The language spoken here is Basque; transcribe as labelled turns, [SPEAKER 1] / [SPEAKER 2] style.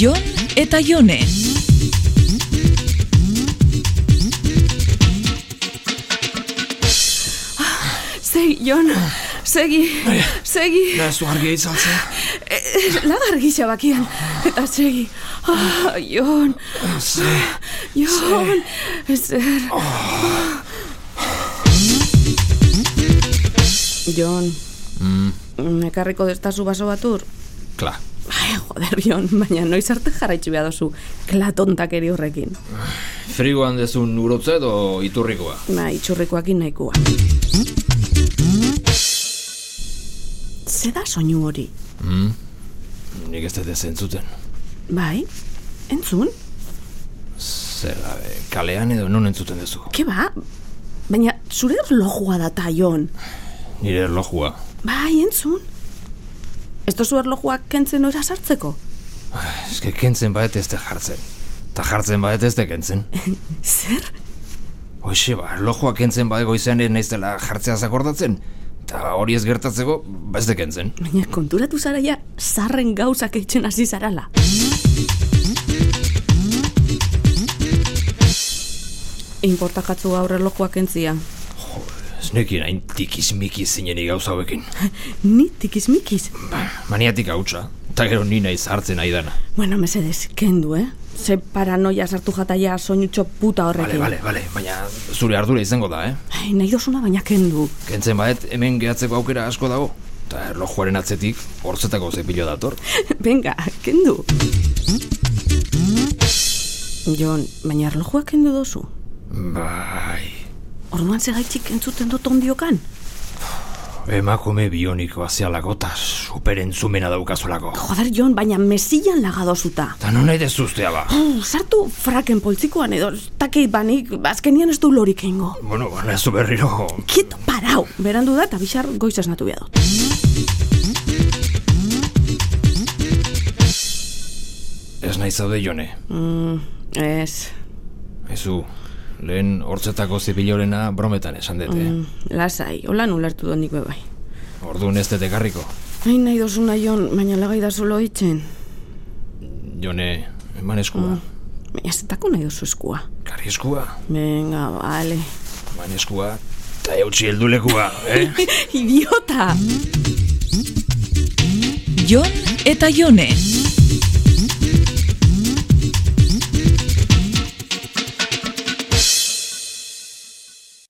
[SPEAKER 1] Jon eta Jone.
[SPEAKER 2] Segi, Jon, segi, segi,
[SPEAKER 3] Da, zu argi itzaltzen.
[SPEAKER 2] Eh, lagar gisa bakian, eta segi. Ah, Jon,
[SPEAKER 3] Ze,
[SPEAKER 2] Jon, zer. Jon, mm, ekarriko destazu baso batur?
[SPEAKER 4] Kla.
[SPEAKER 2] Ai, joder, Jon, baina noiz arte jarraitzu behar dozu, klatontakeri horrekin.
[SPEAKER 4] Frigoan dezun urotza edo iturrikoa.
[SPEAKER 2] Ba, itxurrikoakin nahikoa. Zeda soinu hori?
[SPEAKER 4] Nik ez dut zentzuten.
[SPEAKER 2] Bai, entzun?
[SPEAKER 4] Zer, gabe, kalean edo non entzuten duzu.
[SPEAKER 2] Ke ba? Baina zure erlojua da ta, Jon.
[SPEAKER 4] Nire erlojua.
[SPEAKER 2] Bai, entzun. Ez dozu erlojuak kentzen ora sartzeko?
[SPEAKER 4] Eske kentzen baet ez da jartzen. Ta jartzen baet ez da kentzen.
[SPEAKER 2] Zer?
[SPEAKER 4] Hoxe ba, erlojua kentzen baet goizean ere naiz dela jartzea zakordatzen. Ta hori ez gertatzeko, ba ez da kentzen.
[SPEAKER 2] Baina konturatu zara ja zarren gauzak eitzen hasi zarala. Importakatzu gaur erlojuak entzia.
[SPEAKER 4] Ez nekin hain tikizmiki zineni gauza hauekin.
[SPEAKER 2] Ni tikizmikiz.
[SPEAKER 4] Maniatik hautsa. Ta gero ni naiz hartzen aidana.
[SPEAKER 2] Bueno, mesedez, kendu, eh? Ze paranoia sartu jataia soinutxo puta
[SPEAKER 4] Bale,
[SPEAKER 2] horrekin.
[SPEAKER 4] bale, bale, baina zure ardura izango da, eh?
[SPEAKER 2] Ai, nahi dozuna baina kendu.
[SPEAKER 4] Kentzen baet, hemen gehatzeko aukera asko dago. Eta erlojuaren atzetik, hortzetako zepilo dator.
[SPEAKER 2] Benga, kendu. Jon, baina erlojua kendu dozu.
[SPEAKER 4] Bai,
[SPEAKER 2] Orduan zegaitzik entzuten dut ondiokan.
[SPEAKER 4] emakume bioniko azialako eta superentzumena daukazulako.
[SPEAKER 2] Joder, Jon, baina mesillan lagadozuta.
[SPEAKER 4] Eta non nahi dezuztea ba?
[SPEAKER 2] Uh, sartu fraken poltsikoan edo, ez dakit banik, azkenian ez du lorik eingo.
[SPEAKER 4] Bueno, ba, nahi zu berriro...
[SPEAKER 2] Kieto parau, berandu da eta bixar goiz esnatu behar dut.
[SPEAKER 4] Ez nahi zaude jone.
[SPEAKER 2] Ez,
[SPEAKER 4] Ezu, lehen hortzetako zepilorena brometan esan dut, eh?
[SPEAKER 2] mm, lasai, holan ulertu dut nik be bai.
[SPEAKER 4] Orduan ez dut ekarriko.
[SPEAKER 2] Hain nahi dozuna, Jon, baina lagai da zulo itzen.
[SPEAKER 4] Jone, eman eskua.
[SPEAKER 2] Baina ez dako nahi dozu eskua.
[SPEAKER 4] Karri eskua,
[SPEAKER 2] Venga, vale.
[SPEAKER 4] eman eskua, eta eutxi heldulekua, eh?
[SPEAKER 2] Idiota!
[SPEAKER 1] Jon eta Jone.